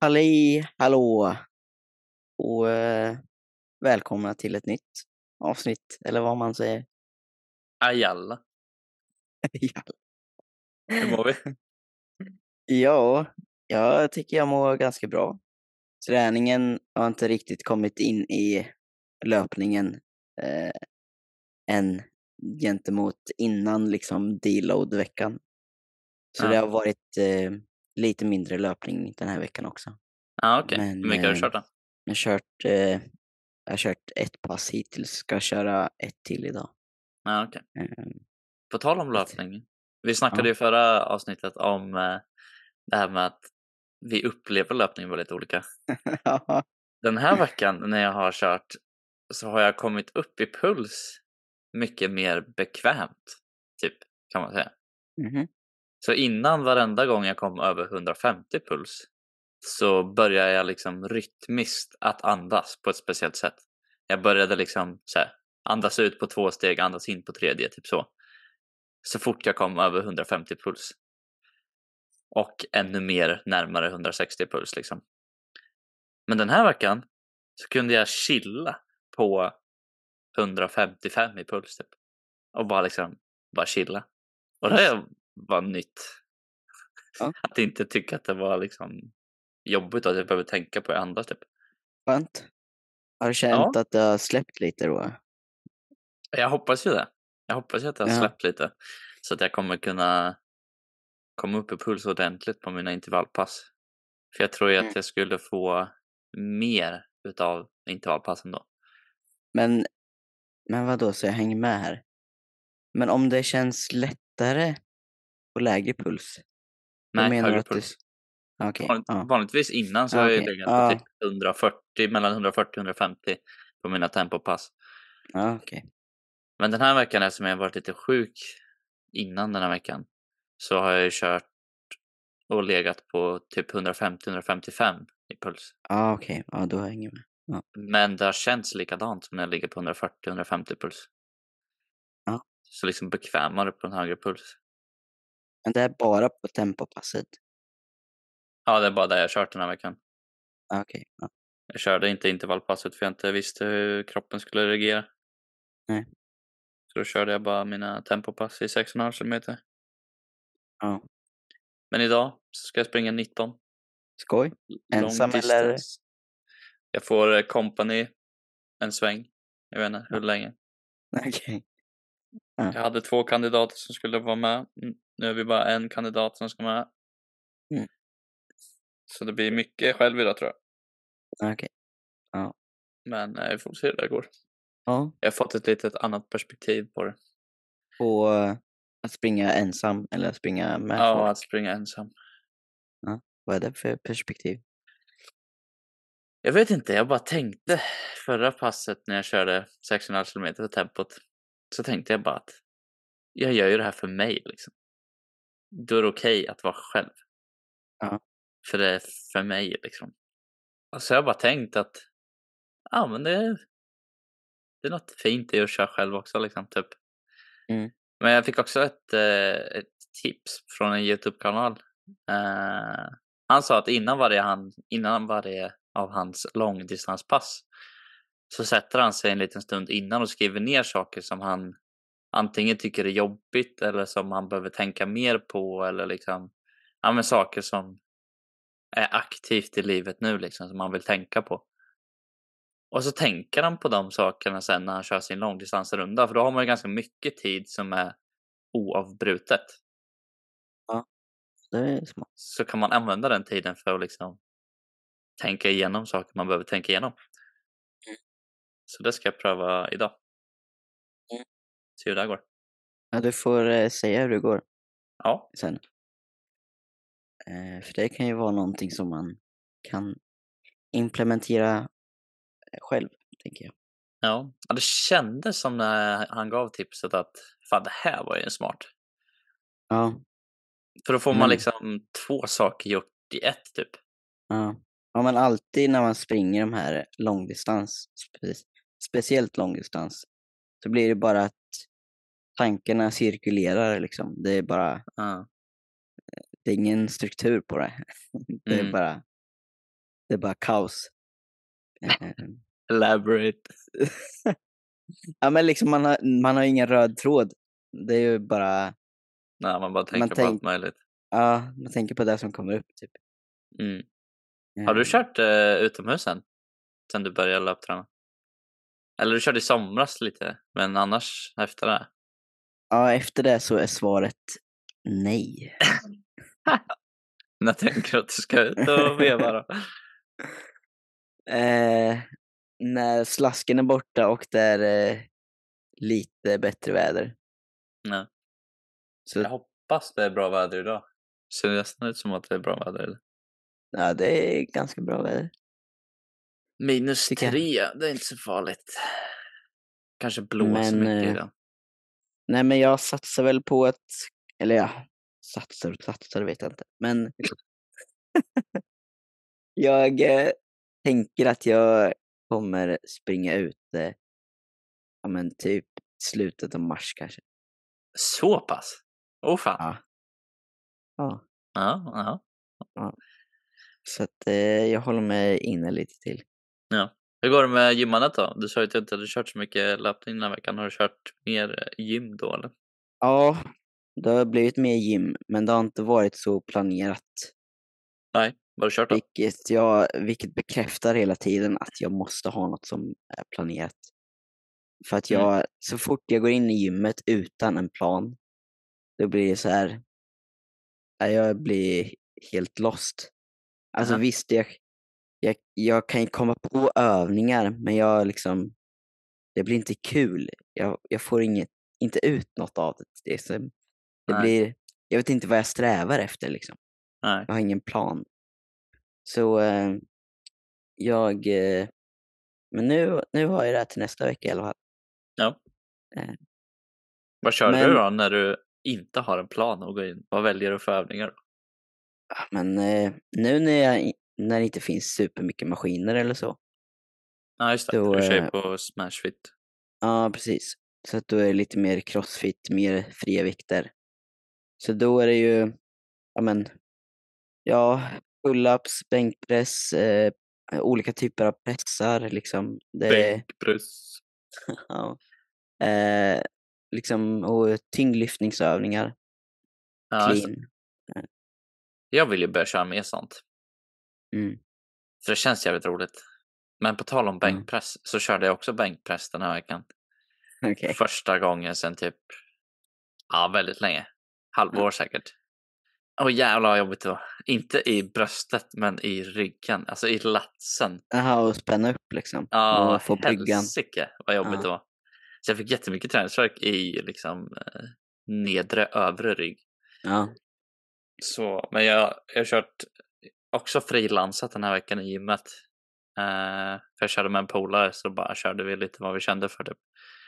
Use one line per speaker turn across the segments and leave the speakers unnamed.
Halli hallå och eh, välkomna till ett nytt avsnitt, eller vad man säger.
Ayalla.
Ja.
Hur mår vi?
ja, jag tycker jag mår ganska bra. Träningen har inte riktigt kommit in i löpningen eh, än gentemot innan liksom deload-veckan. Så det
Ja.
har varit eh, lite mindre löpning den här veckan också.
Ja, okej.
Men,
Hur mycket har du
eh,
kört då?
Jag har kört, eh, jag har kört ett pass hittills, ska köra ett till idag.
Ja, okej.
Eh,
På tal om löpning. Vi snackade
Ja.
ju i förra avsnittet om eh, det här med att vi upplever löpning väldigt olika.
ja,
Den
Mm.
här veckan när jag har kört så har jag kommit upp i puls mycket mer bekvämt. Typ, kan man säga.
mhm.
Så innan varenda gång jag kom över 150 puls så började jag liksom rytmiskt att andas på ett speciellt sätt. Jag började liksom så här, andas ut på två steg, andas in på tredje, typ så. Så fort jag kom över 150 puls. Och ännu mer närmare 160 puls liksom. Men den här veckan så kunde jag chilla på 155 i puls typ. Och bara liksom, bara chilla. Och det här var nytt.
Ja.
Att inte tycka att det var liksom jobbigt och att jag behöver tänka på hur jag andas typ.
Skönt. Har du känt att du har släppt lite då?
Jag hoppas ju det. Jag hoppas ju att jag har
Ja.
släppt lite. Så att jag kommer kunna komma upp i puls ordentligt på mina intervallpass. För jag tror ju
Mm.
att jag skulle få mer utav intervallpassen då.
Men, men vad då så jag hänger med här? Men om det känns lättare och lägre puls? då
Nej,
menar du
högre
att du
puls.
s- Ah, Okej,
Vanligt,
ja.
Vanligtvis innan så
Ja,
har jag ju
okej.
legat på
Ja.
typ 140, mellan 140 och 150 på mina tempopass.
ja, okej.
Men den här veckan eftersom jag varit lite sjuk innan den här veckan så har jag ju kört och legat på typ 150-155 i puls.
Ja, okej. Ja, då hänger jag med.
Men det har känts likadant som när jag ligger på 140-150 puls.
Ja.
Så liksom bekvämare på en högre puls.
Men det är bara på tempopasset?
Ja, det är bara det jag har kört den här veckan.
Ah, Okej. Ja.
Jag körde inte intervallpasset för jag inte visste hur kroppen skulle reagera.
Nej.
Så då körde jag bara mina tempopass i 6,5 kilometer.
Ja.
Men idag så ska jag springa 19.
Skoj.
Long
Ensam eller?
distance. Jag får eh, company en sväng. Jag vet inte hur länge.
Okej.
Jag hade två kandidater som skulle vara med. Mm, Nu är vi bara en kandidat som ska med.
Mm.
Så det blir mycket själv idag tror jag.
Okej.
Men eh, vi får se hur det går.
Ja.
Jag har fått ett litet annat perspektiv på det.
På eh, att springa ensam eller att springa med
Ja,
folk?
att springa ensam.
Vad är det för perspektiv?
Jag vet inte, jag bara tänkte förra passet när jag körde 6,5 km för tempot. Så tänkte jag bara att jag gör ju det här för mig liksom. Då är det okej att vara själv.
Ja.
För det är för mig liksom. Och så har jag bara tänkt att ja men det är, det är något fint i att köra själv också liksom typ.
Mm.
Men jag fick också ett, eh, ett tips från en Youtube-kanal. Eh, han sa att innan varje, han, innan varje av hans långdistanspass så sätter han sig en liten stund innan och skriver ner saker som han antingen tycker är jobbigt eller som han behöver tänka mer på eller liksom ja, men saker som är aktivt i livet nu liksom som han vill tänka på. Och så tänker han på de sakerna sen när han kör sin långdistansrunda för då har man ju ganska mycket tid som är oavbrutet
Det är smart.
så kan man använda den tiden för att liksom tänka igenom saker man behöver tänka igenom. Så det ska jag pröva idag.
Mm.
Se hur det här går.
Ja, du får eh, säga hur det går
Ja,
sen. Eh, för det kan ju vara någonting som man kan implementera eh, själv, tänker jag.
ja. ja det kändes som när han gav tipset att fan det här var ju smart.
Ja,
För då får man
Men-
liksom två saker gjort i ett typ.
ja. ja men alltid när man springer de här långdistans, spe, speciellt långdistans, så blir det bara att tankarna cirkulerar liksom. Det är bara,
Ja,
det är ingen struktur på det. Det är
Mm.
bara Det är bara kaos. Eh,
Elaborate.
ja, men liksom man har, man har ingen röd tråd. Det är ju bara,
Nej, man bara tänker på allt
tänk-
möjligt.
ja, man tänker på det som kommer upp. Typ.
Mm. Har du
Eh,
kört eh, utomhus sen? Sen du började löpträna? Eller du körde i somras lite, men annars efter det?
Ja, efter det så är svaret nej.
När tänker du att du ska ut och veva då?
Eh, när slasken är borta och det är eh, lite bättre väder.
Ja.
Så
Jag hoppas det är bra väder idag. Ser det nästan ut som att det är bra väder? Eller?
ja, det är ganska bra väder.
Minus
Tycker jag.
tre, det är inte så farligt. Kanske blåser
Men,
mycket
eh,
idag.
Nej, men jag satsar väl på att, eller ja, satsar och satsar vet jag inte. Men jag eh, tänker att jag kommer springa ut eh, ja, men typ slutet av mars kanske.
Så pass? Åh fan.
Ja. Ja.
Ja, ja.
Så att eh, jag håller mig inne lite till.
Hur går det med gymmandet då? Du sa ju att du inte hade kört så mycket löpning den här veckan. Har du kört mer eh, gym då eller?
Ja, det har blivit mer gym, men det har inte varit så planerat.
Nej, vad har du kört då?
Vilket, jag, vilket bekräftar hela tiden att jag måste ha något som är planerat. För att
Mm.
jag, så fort jag går in i gymmet utan en plan, då blir det så här, ja, jag blir helt lost. Alltså
Aha.
visst, jag, jag, jag kan ju komma på övningar, men jag liksom, det blir inte kul. Jag, jag får inget, inte ut något av det. Det, är så, det
Nej.
blir, jag vet inte vad jag strävar efter liksom.
Nej.
Jag har ingen plan. Så eh, jag... Eh, men nu, nu har jag det här till nästa vecka i alla fall.
Eh. Vad kör
Men-
du då när du inte har en plan att gå in? Vad väljer du för övningar? Då?
Ah, Men eh, nu när, jag, i- när det inte finns supermycket maskiner eller så.
Ja, just det.
Då,
Du kör ju
eh,
på smashfit.
Ja, precis. Så att då är det lite mer crossfit, mer fria vikter. Så då är det ju, ja men, ja, pull-ups, bänkpress, eh, olika typer av pressar liksom. Det är-
Bänkpress.
Ja. Eh, liksom, och tyngdlyftningsövningar,
Ja, just det.
clean.
jag vill ju börja köra mer sånt.
Mm.
För det känns jävligt roligt. Men på tal om
Mm.
bänkpress så körde jag också bänkpress den här veckan.
Okej.
Första gången sen typ, ja väldigt
Mm.
länge. Halvår säkert. Åh jävlar vad jobbigt det var. Inte i bröstet men i ryggen, alltså i latsen.
Jaha, och spänna upp liksom.
Ja,
och få bryggan.
helsike vad jobbigt
Ja.
det var. Så jag fick jättemycket träningsvärk i liksom eh, nedre övre rygg.
Ja.
Så, men jag, jag har kört också frilansat den här veckan i gymmet. Eh, för jag körde med en polare så bara körde vi lite vad vi kände för typ.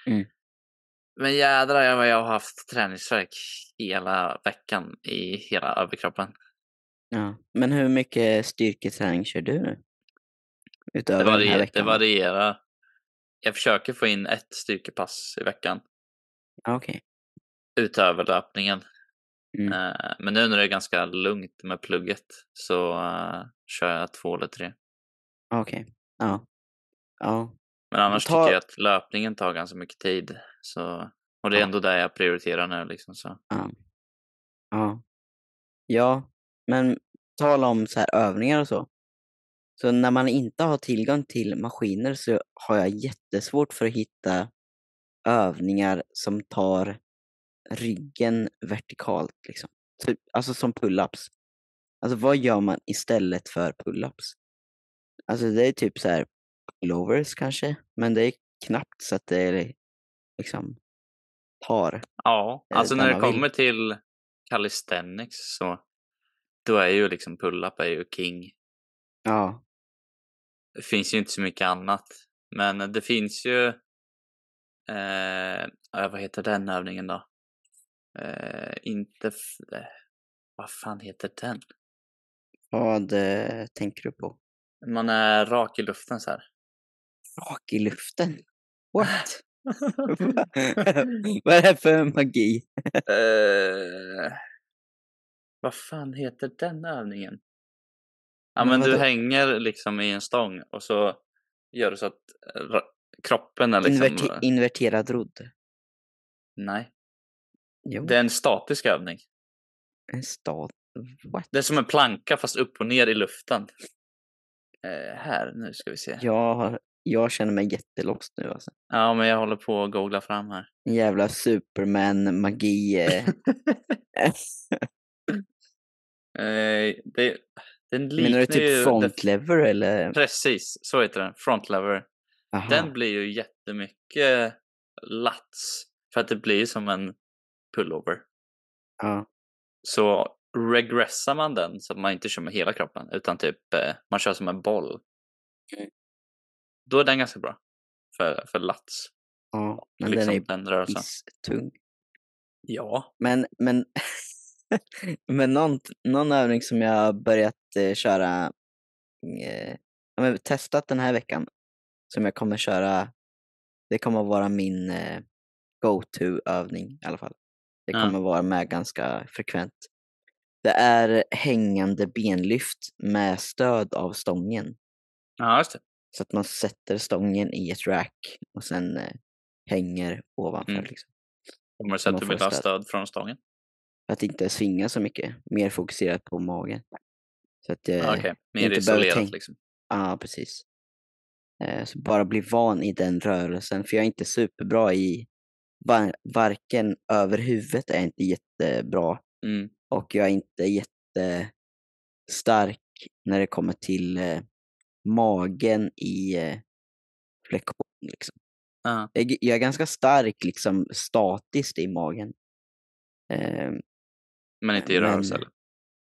Mm.
Men jädrar vad jag har haft träningsvärk hela veckan i hela överkroppen.
ja. Men hur mycket styrketräning kör du nu?
Det,
Utöver den här
varier, det
veckan? va?
varierar. Jag försöker få in ett styrkepass i veckan
Ja, Okej.
utöver löpningen.
Mm.
Eh, men nu när det är ganska lugnt med plugget så eh, kör jag två eller tre.
Okej. Ja. Ja.
Men annars
ta-
tycker jag att löpningen tar ganska mycket tid. Så... Och det är
Ja.
ändå det jag prioriterar nu. Liksom, så.
Ja. Ja. Men tala om så här övningar och så. Så när man inte har tillgång till maskiner så har jag jättesvårt för att hitta övningar som tar ryggen vertikalt. Liksom. Typ, alltså som pull-ups. Alltså vad gör man istället för pull-ups? Alltså det är typ så här pullovers kanske, men det är knappt så att det är liksom tar.
Ja,
Eh,
alltså
där
när det
man vill.
kommer till calisthenics så då är ju liksom pull-up är ju king.
Ja,
Det finns ju inte så mycket annat. Men det finns ju... Eh, ja, vad heter den övningen då? Eh, inte... f- eh, Vad fan heter den?
vad eh, tänker du på?
Man är rak i luften så här.
Rak i luften? What? vad är det för magi?
Eh, vad fan heter den övningen? Ja,
Men
men du
vadå?
hänger liksom i en stång och så gör du så att eh, ra- kroppen är liksom...
Inverti- inverterad rodd.
Nej,
Jo,
det är en statisk övning.
en stat. What?
Det är som en planka fast upp och ner i luften. Eh, här, nu ska vi se. Ja,
Jag, har- jag känner mig jättelost nu alltså.
men jag håller på att googla fram här.
En jävla superman-magi. eh.
Eh, det, den liknar
Menar du
ju...
typ
det-
frontlever eller?
Precis, så heter den. Front lever.
Aha.
Den blir ju jättemycket lats. För att det blir som en pullover.
Ja.
Så regressar man den så att man inte kör med hela kroppen utan typ eh, man kör som en boll.
Mm.
Då är den ganska bra. För, för lats.
ja. Men
liksom,
den
den,
är
rörelsen.
pisstung.
Ja.
Men, men, men någon, någon övning som jag har börjat eh, köra, eh, ja, men testat den här veckan, som jag kommer köra, det kommer vara min eh, go-to-övning i alla fall. Det
Ja.
kommer vara med ganska frekvent. Det är hängande benlyft med stöd av stången.
Ja, just det.
Så att man sätter stången i ett rack och sen eh, hänger ovanför.
Mm.
Liksom.
Kommer du säga
Man
att du
får
vill ha
stöd.
stöd från stången?
För att inte svinga så mycket, mer fokuserat på magen. Så att jag,
Ja, Ah, Okej, mer
Eh, inte behöver
isolerat
tänka.
liksom.
ja precis. Eh, Så bara bli van i den rörelsen, för jag är inte superbra i, var- varken över huvudet är jag inte jättebra
Mm.
och jag är inte jättestark när det kommer till eh, magen i eh, flexion. Liksom.
Ja.
Jag, är- jag är ganska stark liksom statiskt i magen. Ehm,
Men inte i
Men-
rörelse. eller?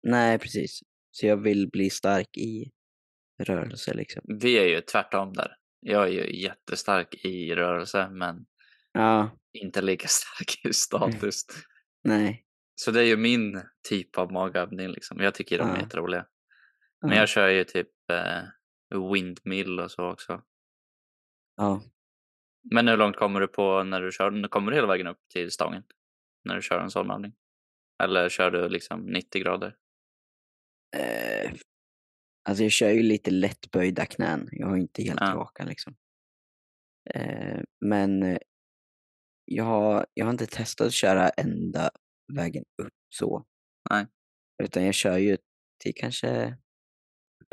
Nej, precis. Så jag vill bli stark i rörelse liksom.
Vi är ju tvärtom där. Jag är ju jättestark i rörelse men
Ja,
inte lika stark
Mm.
i statiskt.
nej.
Så det är ju min typ av magövning. Liksom. Jag tycker de är
Ja.
jätteroliga.
Ja,
Men jag kör ju typ eh, windmill och så också.
ja.
Men hur långt kommer du på när du kör den? Kommer du hela vägen upp till stången? När du kör en sån övning? Eller kör du liksom 90 grader?
Eh, alltså jag kör ju lite lättböjda knän. Jag har ju inte helt
Ja.
raka liksom. Eh, men eh, jag har, jag har inte testat att köra ända vägen upp så.
Nej.
Utan jag kör ju till kanske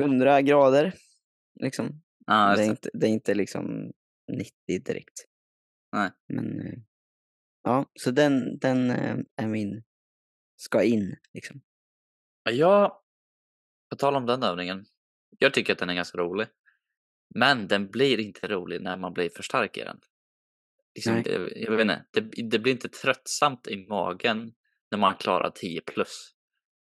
100 grader. Liksom.
Ah,
det, är
just det.
inte, det är inte liksom 90 direkt.
Nej.
Men eh, ja, så den, den eh, är min, ska in liksom.
Ja, Jag, på tal om den övningen, jag tycker att den är ganska rolig. Men den blir inte rolig när man blir för stark i den. Liksom
Nej.
det, jag vet inte, det, det blir inte tröttsamt i magen när man klarar 10 plus.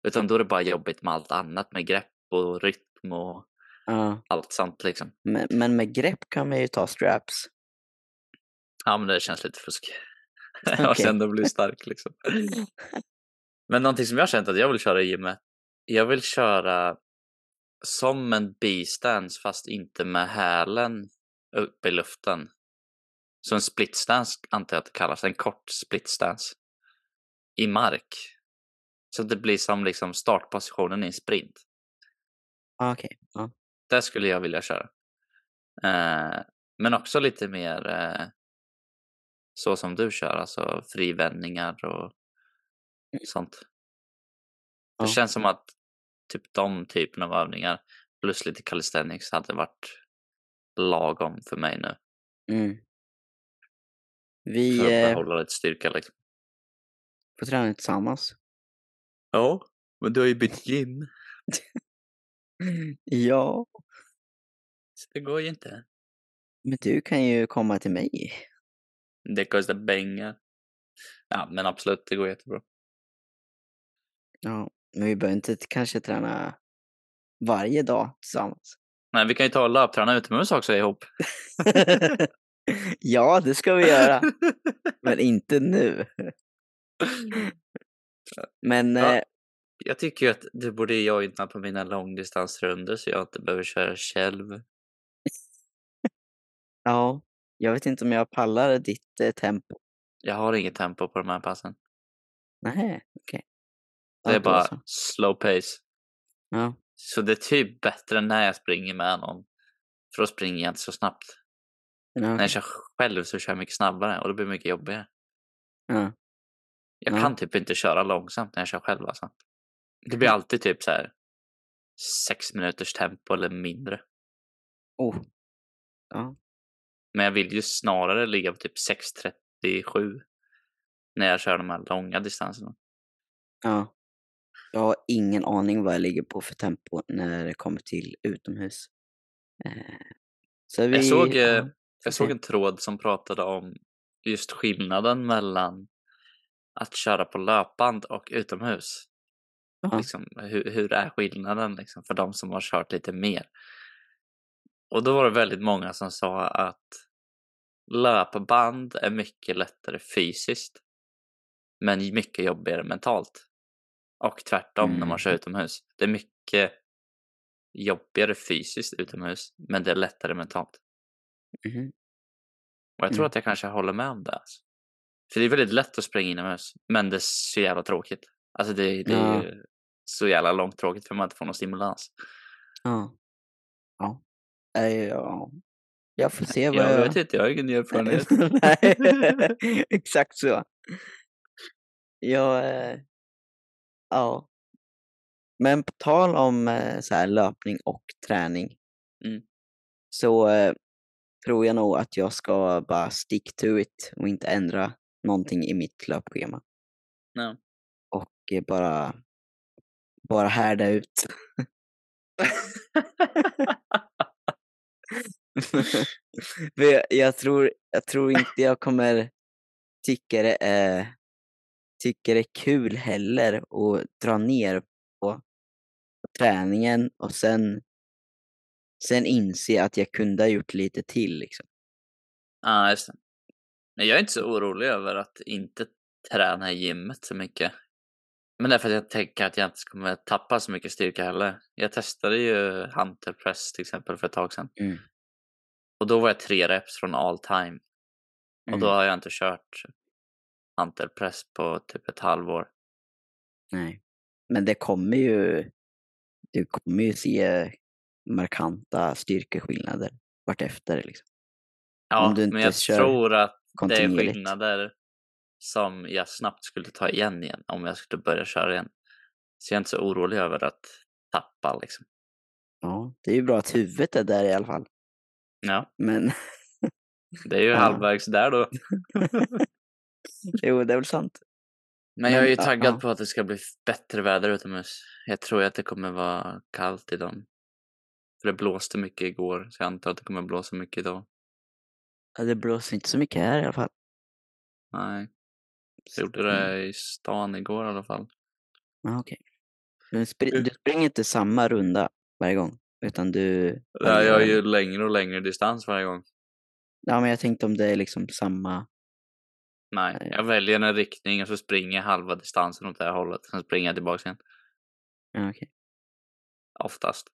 Utan då är det bara jobbigt med allt annat, med grepp och rytm och
Ja,
allt sånt liksom.
men, men med grepp kan man ju ta straps.
Ja, men det känns lite fusk. Okay. Att
Okej.
ändå bli stark liksom. Men någonting som jag har känt att jag vill köra i gymmet. Jag vill köra som en B-stance fast inte med hälen uppe i luften. Så en split stance antar jag att det kallas. En kort split stance. I mark. Så att det blir som liksom startpositionen i en sprint.
Ah, Okej, ja.
Det skulle jag vilja köra. Eh, men också lite mer eh, så som du kör, alltså frivändningar och sånt.
Mm. Ja.
Det känns som att typ de typerna av övningar plus lite calisthenics hade varit lagom för mig nu.
Mm.
För
Vi
att
eh,
behålla lite styrka liksom.
får träna tillsammans.
Ja, men du har ju bytt gym.
Ja,
Så det går ju inte.
men du kan ju komma till mig.
Det kostar pengar. Ja, men absolut, det går jättebra.
Ja, men vi behöver inte t- kanske träna varje dag tillsammans.
Nej, vi kan ju ta och löpträna utomhus också ihop.
ja, det ska vi göra. Men inte nu. Men
Mm. Ja.
eh,
Jag tycker ju att du borde jag inte på mina långdistansrunder så jag inte behöver köra själv.
ja, jag vet inte om jag pallar ditt eh, tempo.
Jag har inget tempo på de här passen.
Nej, okej. Ja,
Det är
då
bara
så.
slow pace.
Ja,
Så det är typ bättre när jag springer med någon. För då springer jag inte så snabbt.
Ja,
När jag kör själv så kör jag mycket snabbare och det blir mycket jobbigare.
Ja.
Jag
Ja.
kan typ inte köra långsamt när jag kör själv alltså. Det blir alltid typ så här sex minuters tempo eller mindre.
Oh. Ja.
Men jag vill ju snarare ligga på typ 6.37 när jag kör de här långa distanserna.
ja. Jag har ingen aning vad jag ligger på för tempo när det kommer till utomhus. Eh, Så vi,
Jag såg, eh,
ja,
Jag såg en tråd som pratade om just skillnaden mellan att köra på löpband och utomhus.
Ja.
Liksom, hur, hur är skillnaden liksom, för de som har kört lite mer? Och då var det väldigt många som sa att löpband är mycket lättare fysiskt men mycket jobbigare mentalt. Och tvärtom när man kör utomhus. Det är mycket jobbigare fysiskt utomhus men det är lättare mentalt.
mhm.
Och jag tror
Mm.
att jag kanske håller med om det. Alltså. För det är väldigt lätt att springa inomhus, men det är så jävla tråkigt. Alltså det, det är
Ja.
ju så jävla långt tråkigt för man inte får någon stimulans.
Ja. Ja. Eh, ja. Jag får se
Jag,
vad jag...
vet inte, jag har ingen erfarenhet.
Nej, exakt så. Jag... eh, Ja. Men på tal om eh, så här, löpning och träning
Mm.
så eh, tror jag nog att jag ska bara stick to it och inte ändra någonting i mitt löpschema.
Ja.
Och eh, bara, bara härda ut. För jag, jag, tror, jag tror inte jag kommer tycka det, är, tycka det är kul heller att dra ner på träningen och sen, sen inse att jag kunde ha gjort lite till. Liksom.
ah, just det. Men jag är inte så orolig över att inte träna i gymmet så mycket. Men därför att jag tänker att jag inte kommer tappa så mycket styrka heller. Jag testade ju hunter press till exempel för ett tag sedan.
Mm.
Och då var jag tre reps från all time. Och
Mm.
då har jag inte kört hantelpress på typ ett halvår.
Mm, Nej. Men det kommer ju, du kommer ju se markanta styrkeskillnader vartefter. Liksom.
Ja,
Om du inte
men jag
kör
tror att det är
Kontinuerligt.
skillnader som jag snabbt skulle ta igen igen om jag skulle börja köra igen. Så jag är inte så orolig över att tappa liksom.
Ja, det är ju bra att huvudet är där i alla fall.
Ja,
Men
det är ju
Ja.
halvvägs där då.
jo, det är väl sant.
Men jag är ju
Men, ja, ja.
taggad på att det ska bli bättre väder utomhus. Jag tror att det kommer vara kallt idag. För det blåste mycket igår, så jag antar att det kommer blåsa mycket idag.
Ja, det blåser inte så mycket här i alla fall.
Nej, det gjorde det
Mm.
i stan igår i alla fall.
Ja, okej. Men spri-
Mm.
du springer inte samma runda varje gång, utan du...
Ja, jag
varierar
har
den.
ju längre och längre distans varje gång.
Ja, men jag tänkte om det är liksom samma...
Nej,
Nej.
jag väljer en riktning och så springer jag halva distansen åt det här hållet. Sen springer jag tillbaka igen,
Ja, okej.
oftast.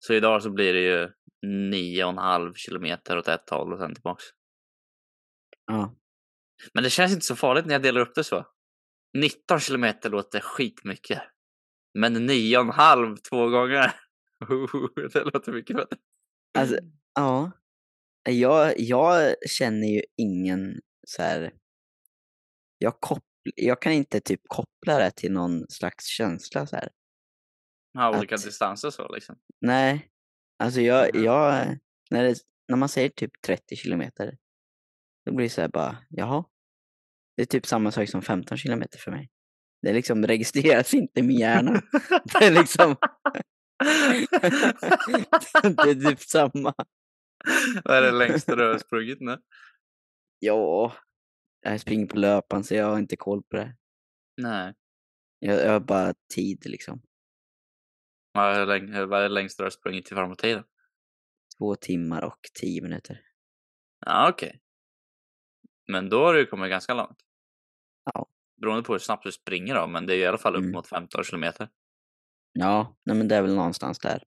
Så idag så blir det ju nio och en halv kilometer åt ett håll och sen tillbaks.
Ja.
Men det känns inte så farligt när jag delar upp det så. 19 kilometer låter skitmycket. Men nio och en halv två gånger. det låter mycket bättre.
Alltså, ja. Jag, jag känner ju ingen så här... Jag, koppl- jag kan inte typ koppla det till någon slags känsla så här.
Ha olika
att-
distanser så liksom.
Nej, alltså jag,
Mhm.
jag när, det, när man säger typ 30 kilometer, då blir det så här bara, jaha. Det är typ samma sak som 15 kilometer för mig. Det liksom registreras inte i min hjärna. Det är liksom, det är typ samma.
Vad är det längsta du har sprungit nu?
Ja, jag springer på löpan så jag har inte koll på det.
Nej.
Jag, jag har bara tid liksom.
Vad är det läng- vad är det längsta du har sprungit till framåt-tiden?
Två timmar och tio minuter.
Ja, okej. Men då har du ju kommit ganska långt.
Ja.
Beroende på hur snabbt du springer då, men det är ju i alla fall upp
Mm.
mot 15 kilometer.
Ja, nej, men det är väl någonstans där.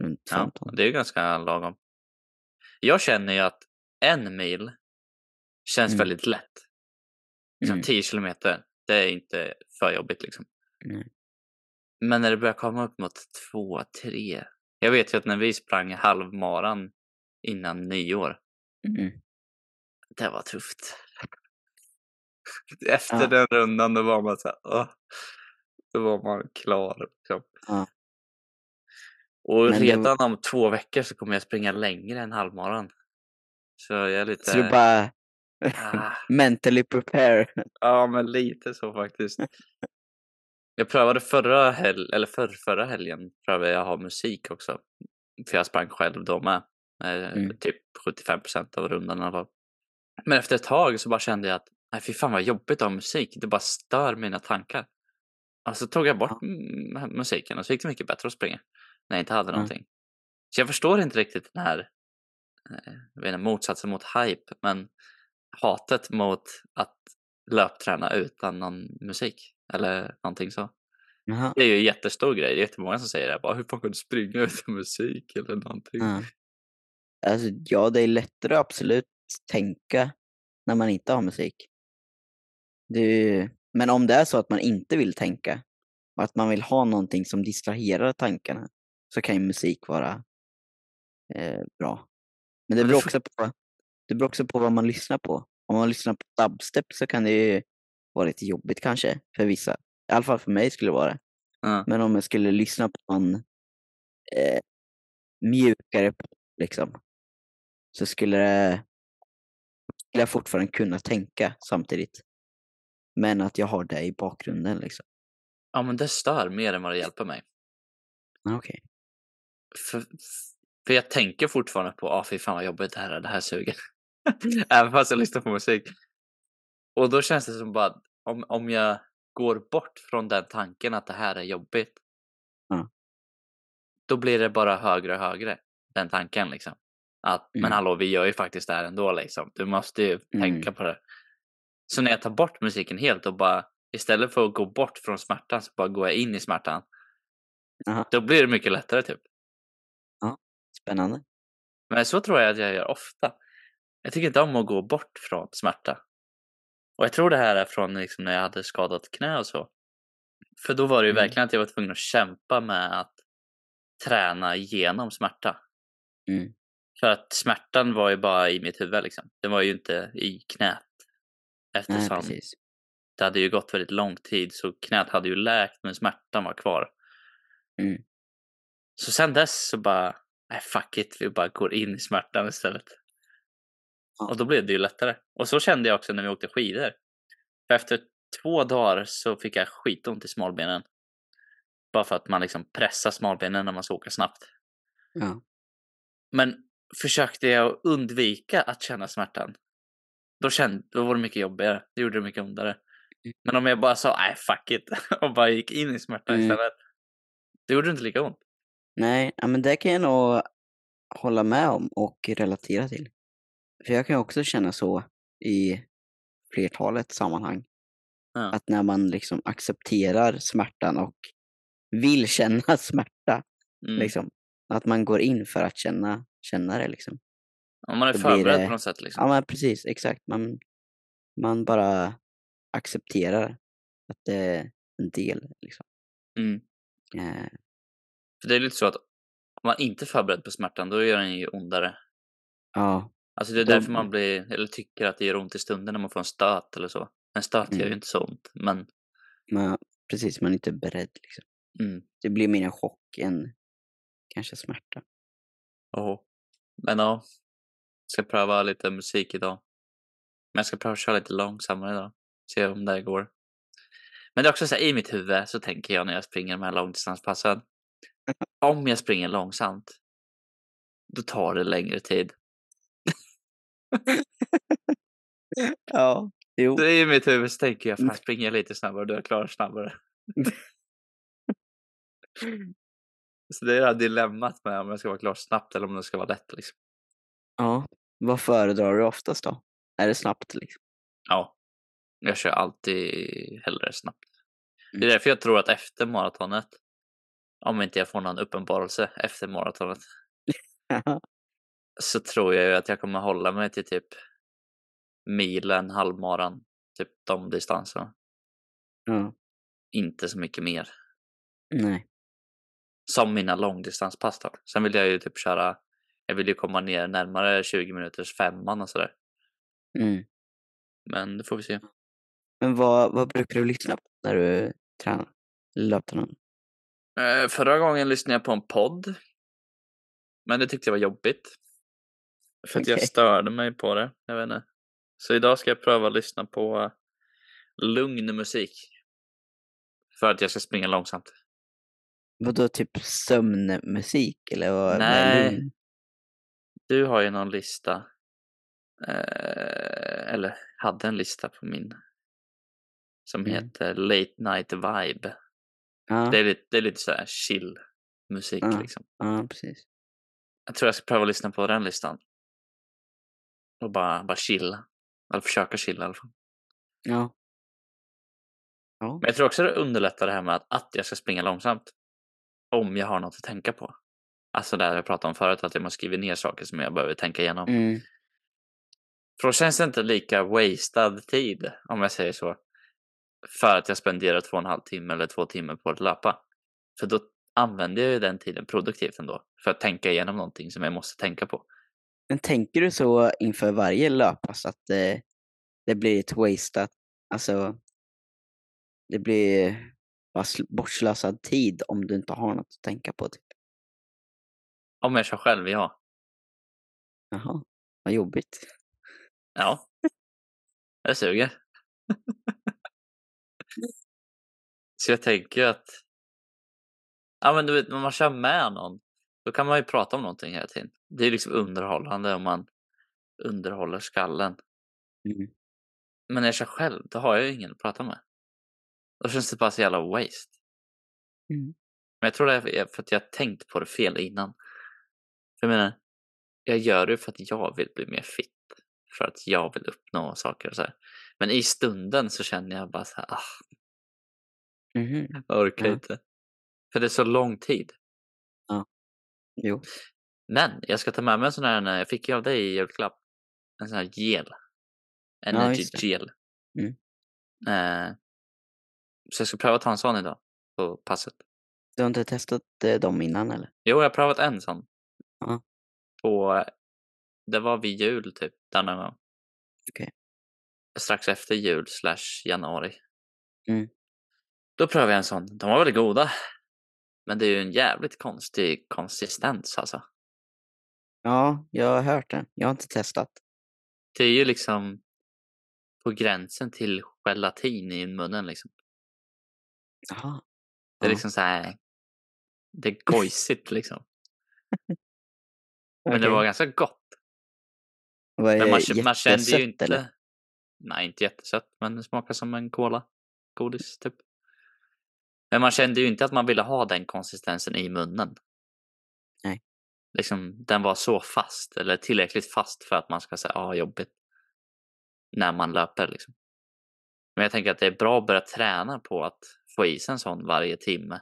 Runt
Ja,
15.
det är ju ganska lagom. Jag känner ju att en mil känns
Mm.
väldigt lätt. Liksom
Mm.
10 kilometer, det är inte för jobbigt liksom.
Nej.
Men när det börjar komma upp mot två, tre. Jag vet ju att när vi sprang halvmaran innan nyår.
Mm.
Det var tufft. Efter
Ja.
den rundan då var man så här, åh, Då var man klar. Liksom.
Ja.
Och
Men det-
redan om två veckor så kommer jag springa längre än halvmaran. Så jag är lite...
Så du bara
ah.
mentally prepare.
Ja, men lite så faktiskt. Jag prövade förra hel- eller förr, förra helgen prövade jag att ha musik också. För jag sprang själv då med. Eh,
Mm.
Typ 75 procent av rundan i alla fall. Men efter ett tag så bara kände jag att nej, fy fan vad jobbigt att ha musik. Det bara stör mina tankar. Och så tog jag bort m- musiken och så gick det mycket bättre att springa. När jag inte hade
Mm.
någonting. Så jag förstår inte riktigt den här eh, jag vet inte, motsatsen mot hype. Men hatet mot att löpträna utan någon musik eller någonting så.
Jaha.
Det är ju en jättestor grej. Det är jättemånga som säger det. här, Bara, Hur fan kan du springa utan musik eller någonting?
Ja. Alltså, ja, det är lättare att absolut tänka när man inte har musik. Det är ju... Men om det är så att man inte vill tänka och att man vill ha någonting som distraherar tankarna så kan ju musik vara eh, bra. Men det
Men
beror,
det
också på, det beror också på vad man lyssnar på. Om man lyssnar på dubstep så kan det ju vara lite jobbigt kanske för vissa. I alla fall för mig skulle det vara det.
Ja.
Men om jag skulle lyssna på en eh, mjukare pop, liksom, så skulle, det, skulle jag fortfarande kunna tänka samtidigt. Men att jag har det i bakgrunden. Liksom.
ja, men det stör mer än vad det hjälper mig.
Ah, Okej.
För, för jag tänker fortfarande på, ah fy fan vad jobbigt det här är, det här suger. Även fast jag lyssnar på musik. Och då känns det som bara, om, om jag går bort från den tanken att det här är jobbigt.
Ja.
Då blir det bara högre och högre, den tanken liksom. Att, men
Mm.
hallå, vi gör ju faktiskt det här ändå liksom. Du måste ju tänka på det. Så när jag tar bort musiken helt och bara, istället för att gå bort från smärtan så bara går jag in i smärtan.
Aha.
Då blir det mycket lättare typ.
Spännande.
Men så tror jag att jag gör ofta. Jag tycker inte om att gå bort från smärta. Och jag tror det här är från liksom när jag hade skadat knä och så. För då var det ju
Mm.
verkligen att jag var tvungen att kämpa med att träna igenom smärta.
Mm.
För att smärtan var ju bara i mitt huvud liksom. Den var ju inte i knät.
Nej,
Eftersom
precis.
det hade ju gått väldigt lång tid så knät hade ju läkt men smärtan var kvar.
Mm.
Så sen dess så bara, nej fuck it, vi bara går in i smärtan istället.
Ja.
Och då blev det ju lättare. Och så kände jag också när vi åkte skidor. För efter två dagar så fick jag skitont i smalbenen. Bara för att man liksom pressar smalbenen när man ska åka snabbt.
Ja.
Men försökte jag undvika att känna smärtan. Då, kände, då var det mycket jobbigare. Det gjorde det mycket ondare.
Mm.
Men om jag bara sa nej fuck it och bara gick in i smärtan
Mm.
istället. Det gjorde inte lika ont.
Nej, ja, men det kan jag nog hålla med om och relatera till. För jag kan ju också känna så i flertalet sammanhang.
Ja.
Att när man liksom accepterar smärtan och vill känna smärta
Mm.
Liksom. Att man går in för att känna, känna det. Liksom.
Om man är
då blir
förberedd
det-
på något sätt. Liksom.
Ja, men precis. Exakt. Man, man bara accepterar att det är en del. Liksom.
Mm.
Eh,
För det är lite så att om man inte är förberedd på smärtan då gör den ju ondare.
ja,
Alltså det är
Då-
därför man blir, eller tycker att det gör ont i stunden när man får en stöt eller så. En stöt gör ju
Mm.
inte så ont, men
man, precis. Man är inte beredd. Liksom.
mm.
Det blir mer en chock än kanske smärta.
Oho. Men ja, ska pröva lite musik idag. Men jag ska pröva att köra lite långsammare idag. Se om det här går. Men det är också så här, i mitt huvud så tänker jag när jag springer de här långdistanspassen.
Mm.
Om jag springer långsamt, då tar det längre tid.
Ja, jo.
Det är i mitt huvud så tänker jag, fan springer jag lite snabbare då är jag klar snabbare. så det är det här dilemmat med om jag ska vara klar snabbt eller om det ska vara lätt. Liksom.
Ja. Vad föredrar du oftast då? Är det snabbt? Liksom?
Ja, jag kör alltid hellre snabbt. Det
Mm.
är därför jag tror att efter maratonet, om inte jag får någon uppenbarelse efter maratonet, så tror jag ju att jag kommer hålla mig till typ milen, halvmaran, typ de distanserna.
ja.
Inte så mycket mer.
Nej.
Som mina långdistanspass då. Sen vill jag ju typ köra, jag vill ju komma ner närmare 20 minuters femman och sådär.
Mm.
Men det får vi se.
Men vad, vad brukar du lyssna på när du tränar? Löptränar?
Eh, Förra gången lyssnade jag på en podd. Men det tyckte jag var jobbigt. För att jag
Okej.
störde mig på det. Jag vet inte. Så idag ska jag pröva att lyssna på eh, lugn musik. För att jag ska springa långsamt.
Vadå, typ sömnmusik eller vad? vad är
Nej.
lugn?
Du har ju någon lista. Eh, eller hade en lista på min. Som
Mm.
heter Late Night Vibe.
Ja,
Det, är lite, det är lite så här chill musik
Ja.
liksom.
ja, precis.
Jag tror jag ska pröva att lyssna på den listan. Och bara, bara chilla. Eller försöka chilla i alla fall.
Ja. Ja.
Men jag tror också det underlättar det här med att, att jag ska springa långsamt. Om jag har något att tänka på. Alltså det här jag pratade om förut, att jag måste skriva ner saker som jag behöver tänka igenom.
Mm.
För då känns det inte lika wasted tid, om jag säger så. För att jag spenderar två och en halv timme eller två timmar på att löpa. För då använder jag ju den tiden produktivt ändå. För att tänka igenom någonting som jag måste tänka på.
Men tänker du så inför varje löppass att eh, det blir ett wasteat, alltså det blir bara sl- bortslösad tid om du inte har något att tänka på? Typ.
Om jag kör själv, ja.
Jaha, vad jobbigt.
Ja. Det suger. Så jag tänker ju att... Ja men du vet, när man kör med någon. Då kan man ju prata om någonting hela tiden. Det är ju liksom underhållande om man underhåller skallen.
Mm.
Men när jag kör själv, då har jag ju ingen att prata med. Då känns det bara så jävla waste.
Mm.
Men jag tror det är för att jag har tänkt på det fel innan. För jag menar, jag gör det för att jag vill bli mer fit. För att jag vill uppnå saker och så här. Men i stunden så känner jag bara så här, ah,
Mhm.
jag orkar
Ja.
inte. För det är så lång tid.
Jo.
Men jag ska ta med mig en sån här, eh, jag fick ju av dig i julklapp, en sån här gel. Energy
just det.
gel.
Mm.
Eh, så jag ska pröva att ta en sån idag på passet.
Du har inte testat eh, dem innan eller?
Jo, jag har prövat en sån.
Ja.
Och det var vid jul typ, där någon gång.
Okej.
Strax efter jul slash januari.
Mm.
Då prövade jag en sån. De var väldigt goda. Men det är ju en jävligt konstig konsistens alltså.
Ja, jag har hört det. Jag har inte testat.
Det är ju liksom på gränsen till gelatin i munnen liksom.
Jaha.
Det är
Ja.
liksom så här. Det är gojsigt liksom. Men det
Okej.
var ganska gott.
Var
Men man,
det
k- man kände ju
jättesött,
inte...
eller?
Nej, inte jättesött, men det smakar som en cola. Godis, typ. Men man kände ju inte att man ville ha den konsistensen i munnen.
Nej.
Liksom, den var så fast, eller tillräckligt fast för att man ska säga ah, jobbigt. När man löper liksom. Men jag tänker att det är bra att börja träna på att få i sig en sån varje timme.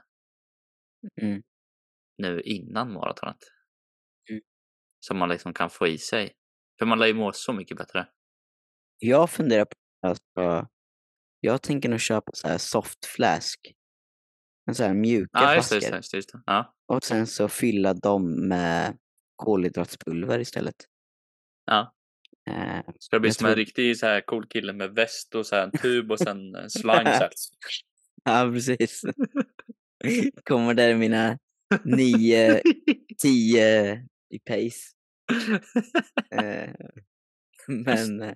Mm.
Nu innan maratonet.
Mm.
Som man liksom kan få i sig. För man lär ju må så mycket bättre.
Jag funderar på, alltså, jag tänker nog köpa så här soft flask. En så här mjuka
Ja, just det,
flaskor.
just det, just det, just det. Ja.
Och sen så fylla dem med kolhydratspulver istället.
Ja.
Eh,
Ska det bli
Jag
som en
tror-
riktig så här cool kille med väst och så här en tub och sen en slang så här.
ja, precis. Kommer där i mina nio, tio i pace. Eh, men eh,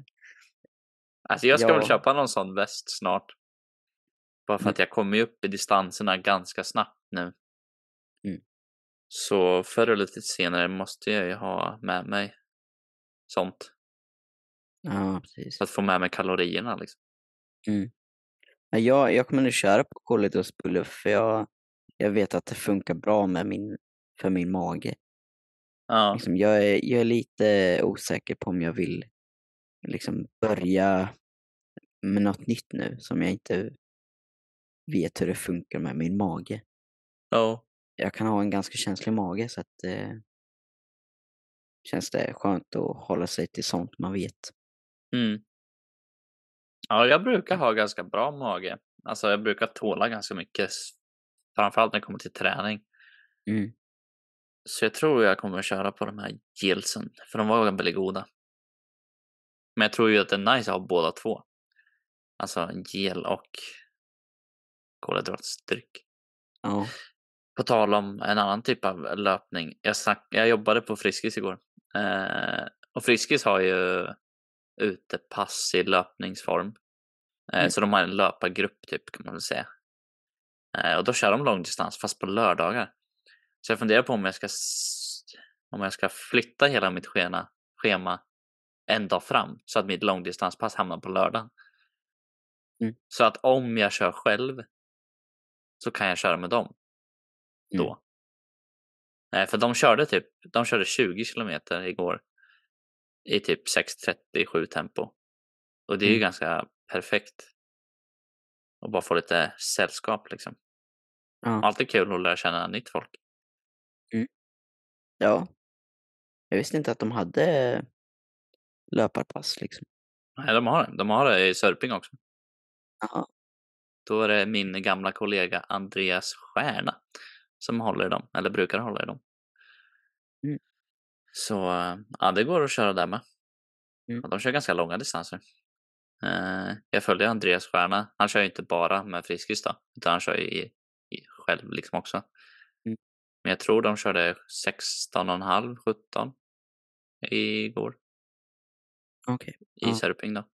Alltså jag ska väl
Ja.
köpa någon sån väst snart. Bara för att jag kommer ju upp i distanserna ganska snabbt nu.
Mm.
Så förr eller lite senare måste jag ju ha med mig sånt.
ja, precis. Mm.
För att få med mig kalorierna liksom.
Ja, Jag, jag kommer nu köra på kolhydratspulver för jag, jag vet att det funkar bra med min, för min mage.
Ja,
Liksom, jag, är, jag är lite osäker på om jag vill liksom, börja med något nytt nu som jag inte vet hur det funkar med min mage.
ja.
Jag kan ha en ganska känslig mage så att eh, känns det skönt att hålla sig till sånt man vet.
Mm. Ja, jag brukar ha ganska bra mage. Alltså jag brukar tåla ganska mycket s- Framförallt när det kommer till träning.
Mm.
Så jag tror jag kommer att köra på de här gilsen. För de var väldigt goda. Men jag tror ju att det är nice att ha båda två. Alltså gel och kolhydratsdryck.
Ja.
På tal om en annan typ av löpning. Jag, snack, jag jobbade på Friskis igår. Eh, och Friskis har ju utepass i löpningsform. Eh,
Mm.
Så de har en löpargrupp typ kan man väl säga. Eh, och då kör de långdistans fast på lördagar. Så jag funderar på om jag ska, s- om jag ska flytta hela mitt schema, schema en dag fram så att mitt långdistanspass hamnar på lördagen.
Mm.
Så att om jag kör själv så kan jag köra med dem
Mm.
då. Eh, för de körde typ de körde 20 kilometer igår i typ 6.37 tempo. Och det är ju
Mm.
ganska perfekt. Och bara få lite sällskap liksom.
Ja.
Alltid kul att lära känna nytt folk.
ja. Jag visste inte att de hade löparpass liksom.
Nej, de har det. De har det i Sörping också.
Jaha.
Då är det min gamla kollega Andreas Stjärna som håller i dem, eller brukar hålla i dem.
Mm.
Så ja, det går att köra där med.
Mm.
Och de kör ganska långa distanser. Eh, jag följer Andreas Stjärna. Han kör ju inte bara med Friskis då, utan han kör ju i, i själv liksom också.
Mm.
Men jag tror de körde 16,5, 17 igår
Okej.
i
Ja.
Sörping då.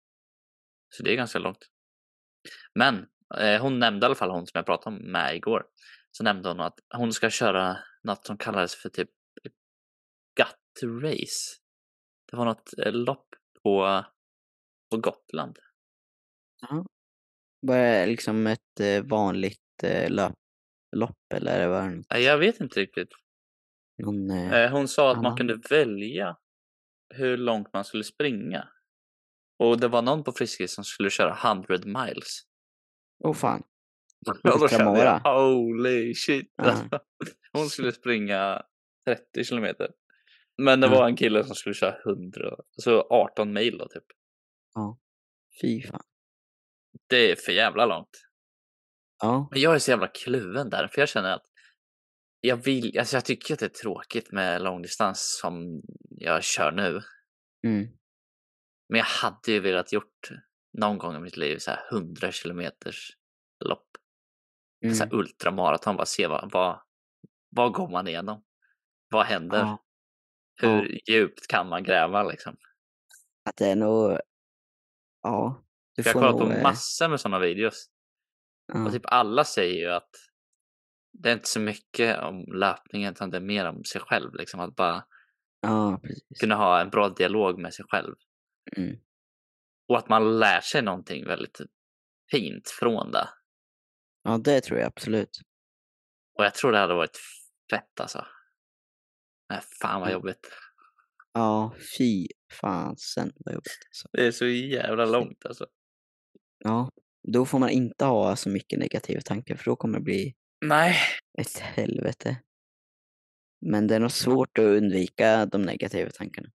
Så det är ganska långt. Men eh, hon nämnde i alla fall hon som jag pratade om med igår. Så nämnde hon att hon ska köra något som kallades för typ gut race. Det var något eh, lopp på, på Gotland.
Var det liksom ett eh, vanligt eh, löp- lopp eller var det
Eh, Jag vet inte riktigt.
någon... Eh...
Eh, Hon sa att man
Annan.
kunde välja hur långt man skulle springa. Och det var någon på Friskis som skulle köra 100 miles.
Oh fan.
Ja, då
Vilka
kände jag,
måra.
holy shit.
Ja.
alltså. Hon skulle springa 30 kilometer. Men det
Ja.
var en kille som skulle köra 100, så 18 mil då typ.
Fy fan.
Det är för jävla långt.
Ja.
Men jag är så jävla kluven där, för jag känner att jag vill, alltså jag tycker att det är tråkigt med långdistans som jag kör nu.
Mm.
Men jag hade ju velat gjort någon gång i mitt liv så här 100 kilometers lopp. Så
Mm.
här ultramaraton, bara se vad, vad, vad går man igenom? Vad händer?
ja. Ja.
Hur djupt kan man gräva liksom?
Att det är nog... Ja. Du
För jag
får
har
nog...
kollat på
eh,
massor med sådana videos
ja.
och typ alla säger ju att det är inte så mycket om löpningen utan det är mer om sig själv. Liksom. Att bara
ja, precis.
kunna ha en bra dialog med sig själv.
Mm.
Och att man lär sig någonting väldigt fint från det.
Ja, det tror jag absolut.
Och jag tror det hade varit fett alltså. Men fan vad
Mm.
jobbigt.
Ja, fy fasen vad jobbigt. Alltså.
Det är så jävla långt alltså.
Ja. Då får man inte ha så mycket negativa tankar för då kommer det bli
Nej.
ett helvete. Men det är nog svårt att undvika de negativa tankarna.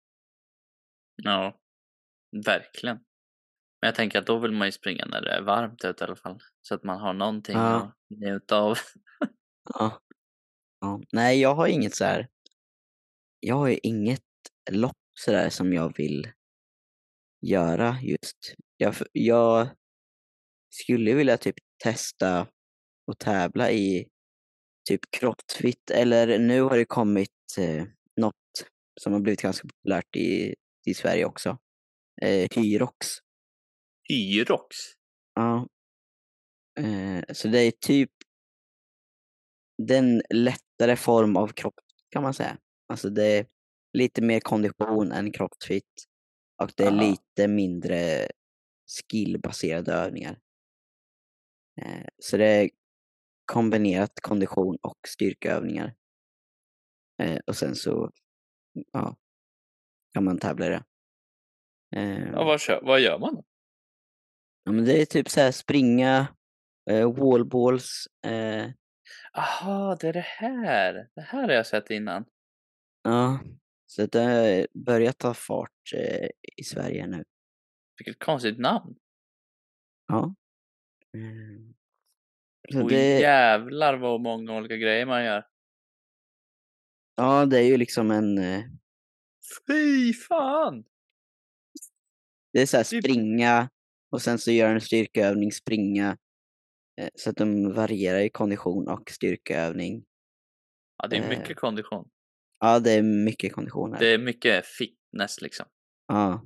Ja, verkligen. Men jag tänker att då vill man ju springa när det är varmt ute i alla fall. Så att man har någonting
Ja.
att njuta av.
Ja. ja. Nej, jag har inget så här. Jag har ju inget lopp så där som jag vill göra just. Jag, f- jag skulle vilja typ testa och tävla i typ crossfit eller nu har det kommit eh, något som har blivit ganska populärt i, i Sverige också. Eh, Hyrox.
Hyrox.
Ja. Eh, så det är typ den lättare form av kropp kan man säga. Alltså det är lite mer kondition än crossfit och det är
Aha.
lite mindre skillbaserade övningar. Eh, så det är kombinerat kondition och styrkeövningar. Eh, och sen så ja, kan man tävla i det. Eh,
Ja, vad, kö- vad gör man då?
ja, men det är typ så här springa, eh, wallballs, eh,
Aha, det är det här. Det här har jag sett innan.
Ja, så det har börjat ta fart eh, i Sverige nu.
Vilket konstigt namn.
Ja. Mm. Eh, Så
Och
det,
jävlar vad många olika grejer man gör.
ja, det är ju liksom en... eh,
Fy fan!
Det är så här
Typ-
springa och sen så gör en styrkeövning, springa. eh, Så att de varierar i kondition och styrkeövning.
Ja, det är
Eh.
mycket kondition.
Ja, det är mycket kondition här.
Det är mycket fitness liksom.
Ja.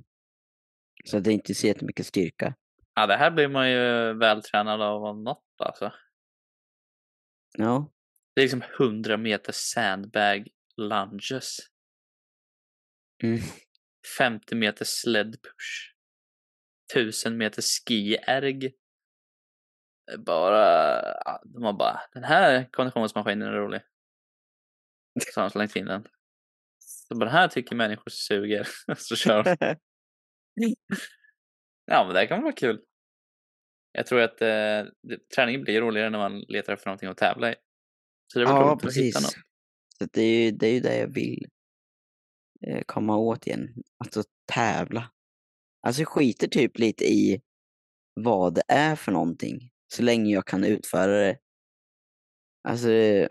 Så det är inte så jättemycket styrka.
Ja, det här blir man ju vältränad av om något alltså.
Ja,
Det är liksom 100 meter sandbag lunges.
Mm.
50 meter sled push. 1000 meter ski-erg. Det är Bara, ja, de har bara, den här konditionsmaskinen är rolig. Så har de slängt in den. Så bara, den här tycker människor suger. Så kör de. Ja, men det här kan vara kul. Jag tror att eh, det- träningen blir roligare när man letar efter någonting att tävla i. Så det var
ja
roligt att
precis.
hitta något.
Så det, är ju, det är ju det jag vill eh, komma åt igen. Alltså tävla. Alltså jag skiter typ lite i vad det är för någonting. Så länge jag kan utföra det. Alltså, eh,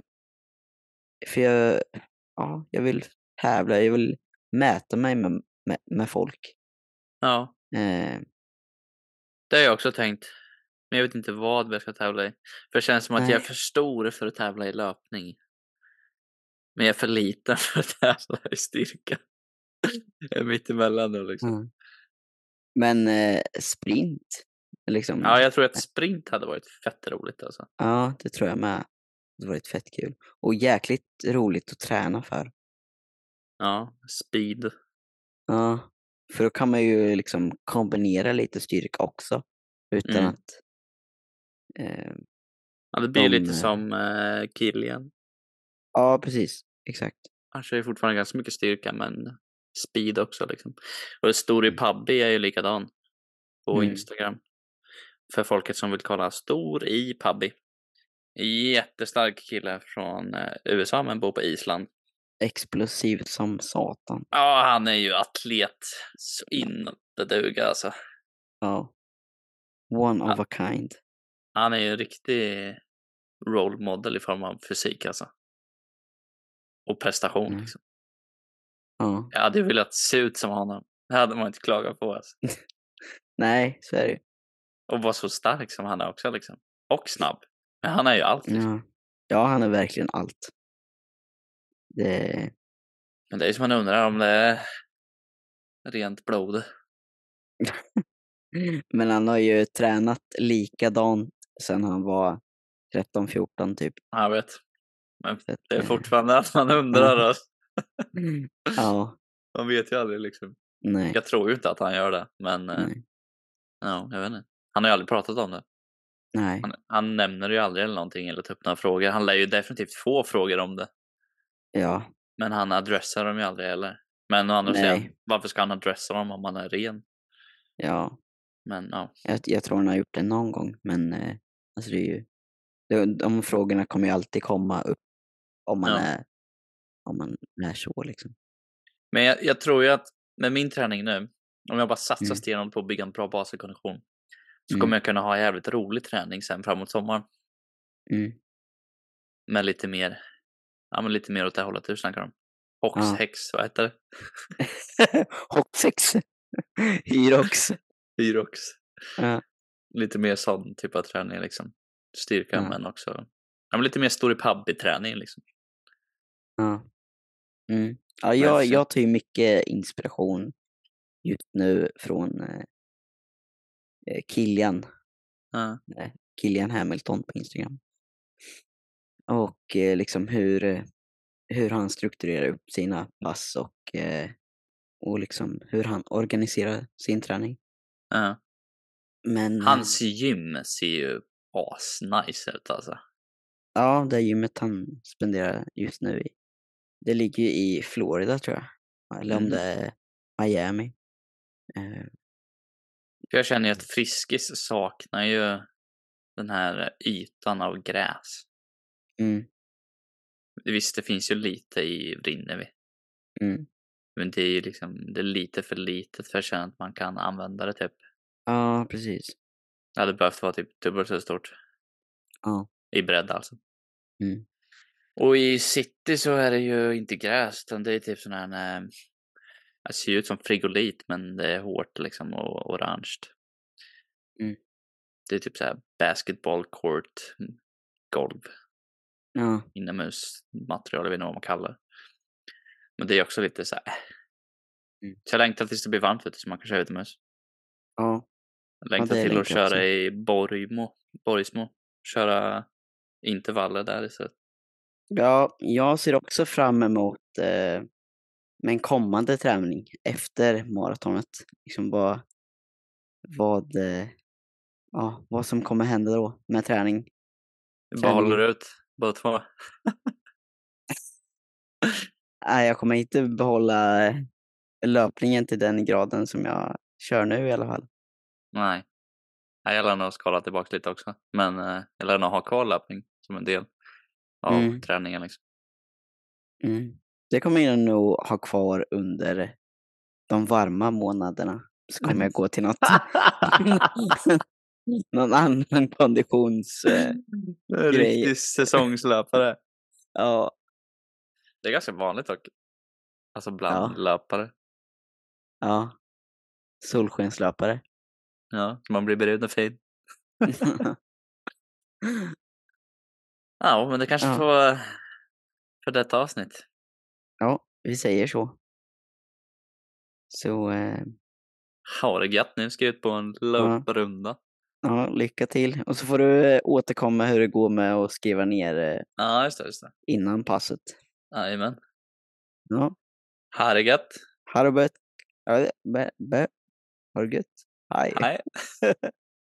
för jag, ja, jag vill tävla. Jag vill mäta mig med, med, med folk.
Ja.
Eh,
Det har jag också tänkt. Men jag vet inte vad jag ska tävla i. För det känns som att jag är
Nej.
för stor för att tävla i löpning. Men jag är för liten för att tävla i styrka. Jag är mitt emellan då liksom.
Mm. Men eh, sprint, liksom.
Ja, jag tror att sprint hade varit fett roligt alltså.
Ja, det tror jag med. Det var varit fett kul. Och jäkligt roligt att träna för.
Ja, speed.
Ja. För då kan man ju liksom kombinera lite styrka också. Utan
Mm.
att... Eh,
Ja, det blir ju
De,
lite
eh,
som eh, Kilian.
ja, precis. Exakt.
Han kör ju fortfarande ganska mycket styrka men speed också liksom. Och Story Pubby är ju likadan på
Mm.
Instagram. För folket som vill kolla Stor i Pubby. Jättestark kille från eh, USA men bor på Island.
Explosivt som satan.
Ja, han är ju atlet så in det duga alltså.
Ja. One of a kind.
Han är ju en riktig role model i form av fysik alltså. Och prestation
Mm.
liksom.
Ja.
Jag hade ju velat se ut som honom. Det hade man inte klagat på alltså.
Nej, så är det ju.
Och var så stark som han är också liksom. Och snabb. Men han är ju allt. liksom.
Ja. ja, han är verkligen allt. Det...
Men det är ju som man undrar om det är rent blod.
Men han har ju tränat likadant sen han var 13-14 typ.
Jag vet.
Så att,
Det är
eh,
fortfarande att man undrar. Alltså.
Ja,
Man vet ju aldrig liksom.
nej.
Jag tror ju inte att han gör det. Men eh,
Nej.
ja, jag vet inte. Han har ju aldrig pratat om det.
nej.
Han, han nämner det ju aldrig eller någonting eller tar upp några frågor. Han lär ju definitivt få frågor om det.
Ja,
Men han adressar dem ju aldrig heller. Men å andra sidan,
Nej.
varför ska han adressa dem om han är ren?
ja.
Men ja,
Jag, jag tror han har gjort det någon gång, men eh, alltså det är ju... De, de frågorna kommer ju alltid komma upp om man,
Ja.
är, om man är så liksom.
Men jag, jag tror ju att med min träning nu, om jag bara satsar
Mm.
stenhårt på att bygga en bra basekondition, så
Mm.
kommer jag kunna ha jävligt rolig träning sen framåt sommaren.
Mm.
Med lite mer, ja men lite mer åt det här hållet du snackar om. Hox,
Ja.
hex, vad heter det?
Hocksex! Hyrox!
Hyrox.
Ja.
Lite mer sån typ av träning liksom. Styrka
Ja.
men också, ja men lite mer story pubby träning liksom.
Ja. Mm. Ja, jag,
så-
jag tar ju mycket inspiration just nu från eh, eh, Kilian,
Ja.
Kilian Hamilton på Instagram. Och eh, liksom hur, eh, hur han strukturerar upp sina pass och, eh, och liksom hur han organiserar sin träning.
Ja.
Men eh,
Hans gym ser ju asnice ut alltså.
ja, det gymmet han spenderar just nu i, det ligger ju i Florida tror jag. Eller om
Mm.
det är Miami. Eh,
För jag känner ju att Friskis saknar ju den här ytan av gräs.
Mm.
Visst, det finns ju lite i Vrinnevi.
Mm.
Men det är ju liksom, det är lite för litet för att känna att man kan använda det typ.
Ja, precis.
Det hade behövt vara typ dubbelt så stort.
Ja.
I bredd alltså.
Mm.
Och i city så är det ju inte gräs utan det är typ sån här... eh, Det ser ju ut som frigolit men det är hårt liksom och orange.
Mm.
Det är typ så här basketball court mm, golv
Ja.
inomhusmaterial, jag vet inte vad man kallar det. Men det är också lite så här. äh.
Mm.
Så jag längtar tills det blir varmt vet du, så man kan köra utomhus.
ja.
Jag längtar
det
till att
längtar jag
köra
också.
i Borgmo, Borgsmo. Köra intervaller där istället.
Ja, jag ser också fram emot eh, en kommande träning efter maratonet. Liksom vad, vad, eh, ja, vad som kommer hända då med träning.
Bara
Träning.
håller ut, båda två.
Nej, jag kommer inte behålla eh, löpningen till den graden som jag kör nu i alla fall.
Nej. Nej, Jag lär nog skala tillbaka lite också. Men eh, jag lär nog ha kvar löpning som en del av
Mm.
träningen. Liksom.
Mm. Det kommer jag nog ha kvar under de varma månaderna. Så kommer jag gå till något, någon annan konditions... Eh, Grej.
Riktig säsongslöpare.
ja,
Det är ganska vanligt dock. Alltså bland löpare.
ja. Solskenslöpare.
Ja, så man blir bruden fin. Ja, men det kanske
Ja.
får vara för detta avsnitt.
ja, vi säger så. Så eh,
Ha det gött nu, ska jag ut på en löprunda.
ja, lycka till. Och så får du eh, återkomma hur det går med att skriva ner eh,
Ja, just det. Just det.
innan passet.
Jajamän.
Ja,
Ha det gött.
ha det gött. Ja, det- bä- bä- Ha det gött. Hej.
Hej.